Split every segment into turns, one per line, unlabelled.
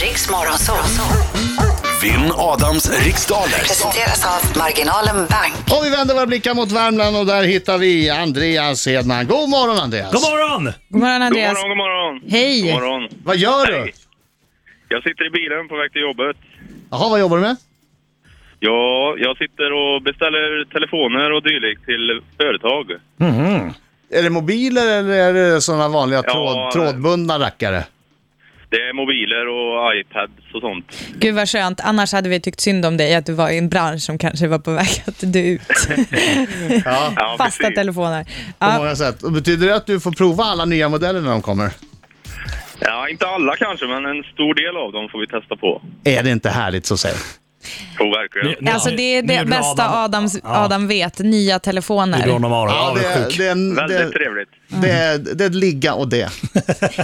Riks Morgonzoo.
Vinn Adams riksdaler.
Presenteras av Marginalen Bank.
Och vi vänder våra blickar mot Värmland och där hittar vi Andreas Hedman. God morgon Andreas!
God morgon!
God morgon
God
Andreas.
morgon, god morgon.
Hej.
God morgon.
Vad gör du?
Hej. Jag sitter i bilen på väg till jobbet.
Jaha, vad jobbar du med?
Ja, jag sitter och beställer telefoner och dylikt till företag.
Är det mobiler eller är det sådana vanliga
Ja,
tråd, trådbundna rackare?
Det är mobiler och iPads och sånt.
Gud vad skönt, annars hade vi tyckt synd om dig att du var i en bransch som kanske var på väg att dö ut.
Ja, på
Ja,
Fasta
precis.
telefoner. Ja,
många sätt. Och eh, betyder det att du får prova alla nya modeller när de kommer?
Ja, inte alla kanske, men en stor del av dem får vi testa på.
Är det inte härligt så säg?
Tror verkligen.
Nu-
alltså det är
nu
det
bra,
bästa Adams, Adam vet, nya
Det är bra
telefoner.
honom Aron,
Ja, det, är- Mm.
avundsjuk.
det, är en-
Väldigt
det,
trevligt.
det, är- det är ett ligga och det.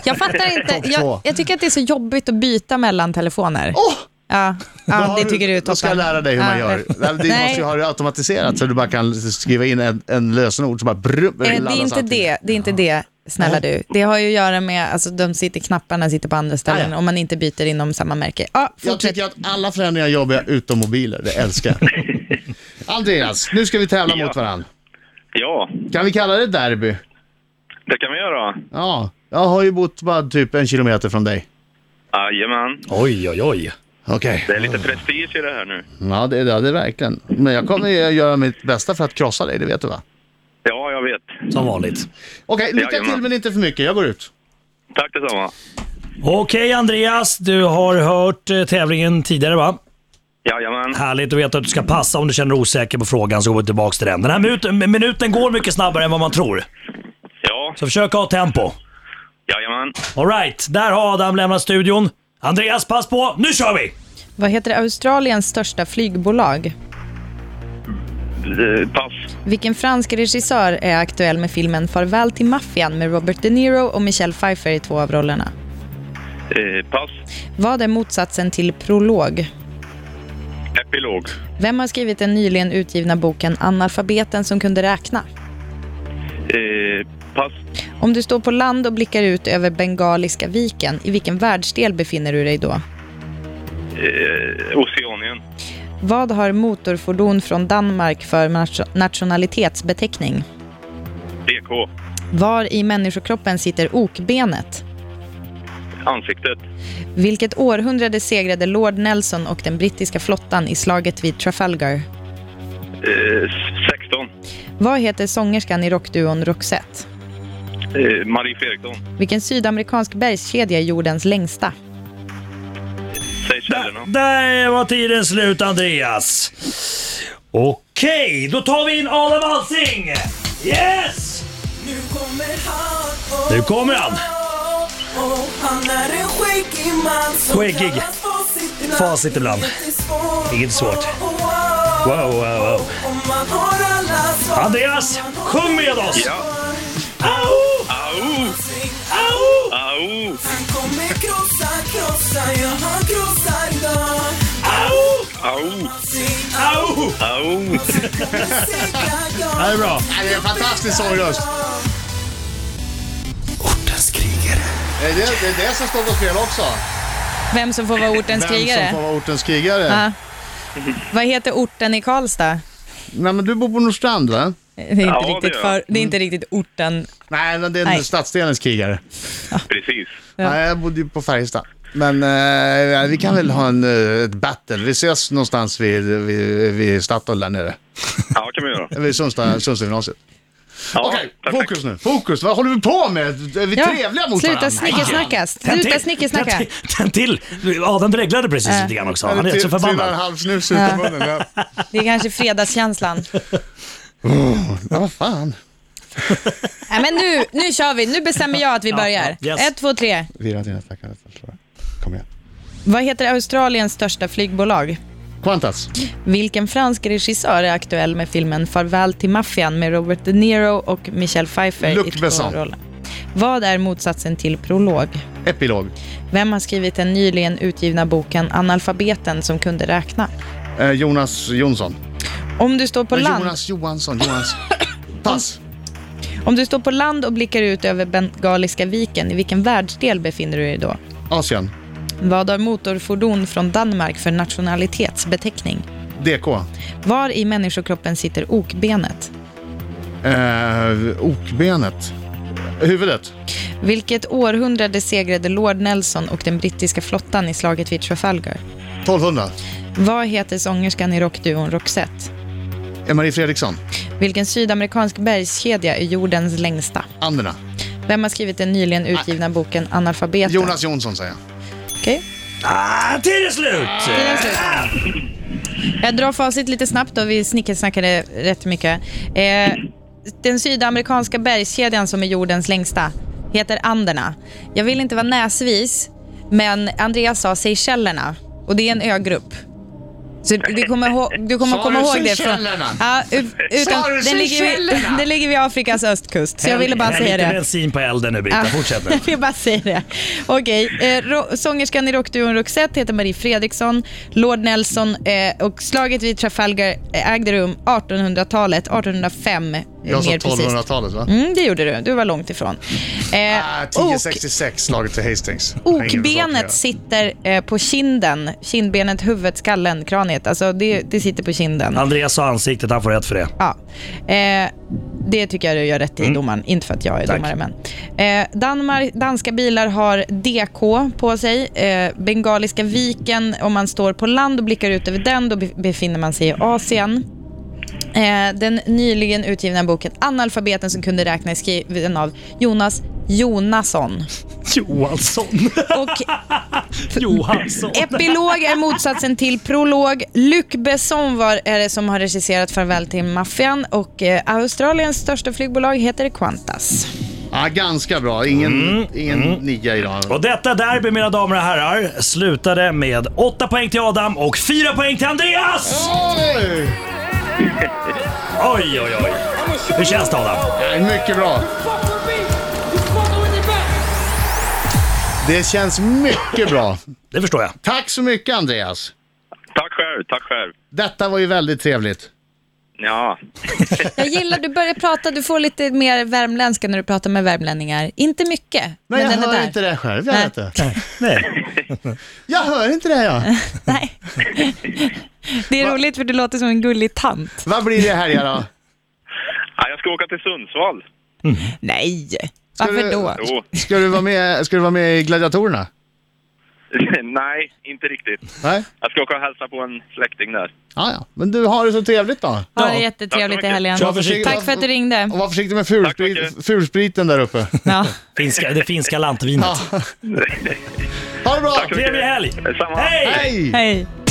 Jag fattar inte, jag, jag tycker att det är så jobbigt att byta mellan telefoner.
Åh!
Ja,
Då
ja
har
det tycker du är
Då ska jag
toppen.
lära dig hur man
Ja,
gör.
rätt.
Det du måste
Nej, eh,
ju ha det automatiserat så du bara kan skriva in en, en lösenord som bara brum,
eh, det är inte det, det är inte det. Snälla du, det har ju att göra med, alltså de sitter, knapparna sitter på andra ställen
Ah, ja.
om man inte byter inom samma märke. Ja,
Jag
fortsätt.
tycker att alla förändringar är jobbiga utom mobiler, det älskar jag. Andreas, nu ska vi tävla
Ja.
mot varandra.
Ja,
Kan vi kalla det derby?
det kan vi göra.
Ja, jag har ju bott bara typ en kilometer från dig.
Jajamän.
Oj, oj, oj.
Okej.
Det är lite prestige i det här nu.
Ja, det, ja, det är verkligen. Men jag kommer ju göra mitt bästa för att krossa dig, det vet du va?
Ja, jag vet.
Som vanligt.
Okej, lycka
Jajamän.
till men inte för mycket, jag går ut.
Tack detsamma.
Okej Andreas, du har hört eh, tävlingen tidigare va?
Jajamän.
Härligt att veta att du ska passa om du känner dig osäker på frågan så går vi tillbaka till den. Den här minuten, minuten går mycket snabbare än vad man tror.
Ja,
Så försök ha tempo.
jajamän.
Alright, där har Adam lämnat studion. Andreas, pass på! Nu kör vi!
Vad heter Australiens största flygbolag?
Eh, Pass.
Vilken fransk regissör är aktuell med filmen Farväl till maffian med Robert De Niro och Michelle Pfeiffer i två av rollerna?
Eh, Pass.
Vad är motsatsen till prolog?
Epilog.
Vem har skrivit den nyligen utgivna boken Analfabeten som kunde räkna?
Eh, Pass.
Om du står på land och blickar ut över Bengaliska viken, i vilken världsdel befinner du dig då?
Eh, Oceanien.
Vad har motorfordon från Danmark för nation- nationalitetsbeteckning?
DK.
Var i människokroppen sitter okbenet?
Ansiktet.
Vilket århundrade segrade Lord Nelson och den brittiska flottan i slaget vid Trafalgar?
Eh, 16.
Vad heter sångerskan i rockduon Roxette?
Eh, Marie Fredriksson.
Vilken sydamerikansk bergskedja är jordens längsta?
Säg källorna.
Där var tiden slut Andreas. Okej, då tar vi in Adam Alsing! Yes!
Nu kommer han, oh,
Nu kommer han.
oh, oh. Han är en skäggig man som
Skäggig.
kallas facit ibland.
Facit ibland.
Inget är svårt.
Inget är svårt.
Oh, oh, oh.
Wow, wow, wow.
Om man har alla svar.
Andreas,
om man har
sjung med oss!
Ja.
Au!
Au!
allting.
Au!
Au!
Han kommer krossa, krossa, ja han krossar idag.
Au!
Au!
Allting,
Au!
Au!
allting segra, ja.
Det är bra.
Ja, det är en fantastisk sångröst.
Ortens krigare.
Det är det, är det som står på spel också.
Vem som får vara ortens
Vem som
krigare?
får vara ortens krigare.
Ja. Vad heter orten i Karlstad?
Nej, men du bor på Nordstrand va?
Det är inte,
Ja, det
riktigt,
gör
för,
jag.
det är inte riktigt orten.
Nej, men det är
Nej.
stadsdelens krigare.
Precis.
Ja.
Nej, jag bodde ju på Färjestad. Men eh, vi kan väl ha en, eh, ett battle. Vi ses någonstans vid, vid, vid Statoil där nere.
Ja, kan vi göra.
Vid
Mm.
Sundsta- Sundstadsgymnasiet.
Ja,
Okej,
perfekt.
fokus nu. Fokus. Vad håller vi på med? Är vi trevliga mot
sluta
varandra?
snickesnacka.
Den
Sluta
till.
snickesnacka.
Den till. Den till. Adam dreglade precis lite grann också. typ, Han är så
Trillar en
förbannad.
halv snus ut ur munnen. Ja.
Det är kanske fredagskänslan.
Ja, vad fan.
Nej, men nu, nu kör vi. Nu bestämmer jag att vi
Ja,
börjar.
ja, yes.
Ett, två, tre.
Vira dina stackare förstår Kom igen.
Vad heter Australiens största flygbolag?
Qantas.
Vilken fransk regissör är aktuell med filmen Farväl till maffian med Robert De Niro och Michelle Pfeiffer
Luc
i två
Besson.
roller? Vad är motsatsen till prolog?
Epilog.
Vem har skrivit den nyligen utgivna boken Analfabeten som kunde räkna?
Eh, Jonas Jonsson.
Om du, står på
Men
land,
Jonas Johansson. Jonas. Pass.
om du står på land och blickar ut över Bengaliska viken, i vilken världsdel befinner du dig då?
Asien.
Vad har motorfordon från Danmark för nationalitetsbeteckning?
DK.
Var i människokroppen sitter okbenet?
Eh, okbenet. Huvudet.
Vilket århundrade segrade Lord Nelson och den brittiska flottan i slaget vid Trafalgar?
1200.
Vad heter sångerskan i rockduon Roxette?
Eh, Marie Fredriksson.
Vilken sydamerikansk bergskedja är jordens längsta?
Anderna.
Vem har skrivit den nyligen utgivna boken Analfabeten?
Jonas Jonsson säger jag.
Okej.
Ah, tiden är slut!
Tiden är slut. Jag drar facit lite snabbt då, vi snickersnackade rätt mycket. Eh, den sydamerikanska bergskedjan som är jordens längsta heter Anderna. Jag vill inte vara näsvis, men Andreas sa Seychellerna och det är en ögrupp. Så du kommer, ihå- du kommer
Sa
komma
du
ihåg det. Från,
Seychellerna?
ja, u- utan,
Sa du
den, ligger vid,
Seychellerna?
den ligger vid Afrikas östkust, så jag ville bara
Häll
säga
lite
det.
bensin på elden nu Britta,
Ja.
fortsätt nu.
Jag vill bara säga det. Okej, eh, ro- sångerskan i rockduon Roxette heter Marie Fredriksson, Lord Nelson eh, och slaget vid Trafalgar eh, ägde rum 1800-talet, 1805 eh,
Jag sa
mer precis.
1200-talet va?
Mm, det gjorde du, du var långt ifrån.
Ah,
Eh, ok-
1066 slaget till Hastings.
Okbenet sitter eh, på kinden, kindbenet, huvudet, skallen, kraniet. Alltså det, det sitter på kinden.
Andreas sa ansiktet, han får rätt för det.
Ja. Eh, det tycker jag du gör rätt i, domaren. Inte för att jag är
Tack.
domare, men. Eh, Danmark, danska bilar har DK på sig. Eh, Bengaliska viken, om man står på land och blickar ut över den, då be- befinner man sig i Asien. Eh, den nyligen utgivna boken Analfabeten som kunde räkna är skriven av Jonas Jonasson.
Johansson.
Och
Johansson.
Epilog är motsatsen till prolog. Luc Besson var, är det som har regisserat Farväl till maffian och eh, Australiens största flygbolag heter Qantas.
Ja, ganska bra. Ingen, ingen nia idag.
Och detta derby mina damer och herrar slutade med 8 poäng till Adam och 4 poäng till Andreas!
Oj!
Oj, oj, oj. Hur känns det Adam?
Nej, Mycket bra. Det känns mycket bra.
Det förstår jag.
Tack så mycket Andreas.
Tack själv, tack själv.
Detta var ju väldigt trevligt.
Ja,
Jag gillar du börjar prata, du får lite mer värmländska när du pratar med värmlänningar. Inte mycket, men,
Men jag
den är
hör
där.
inte det själv. Jag,
Nej.
vet det.
Nej.
jag hör inte det jag.
Nej. Det är roligt för du låter som en gullig tant.
Vad blir det här då?
Ja, jag ska åka till Sundsvall.
Nej, varför
du-
då?
Jo.
Ska du vara med, ska du vara med i Gladiatorerna?
Nej, inte riktigt.
Nej?
Jag ska åka och hälsa på en släkting där.
Ja, ja. Men du har det så trevligt då.
Ha det
Ja.
jättetrevligt i
Tack så
helgen.
mycket. Kör försiktigt.
Tack för att du ringde.
Och var försiktig med
Tack så
fulsprit,
mycket.
fulspriten där uppe.
Ja.
Finska, det finska lantvinet.
Ha det bra!
mycket.
Trevlig helg!
Detsamma.
Hej!
Hej!
Hej.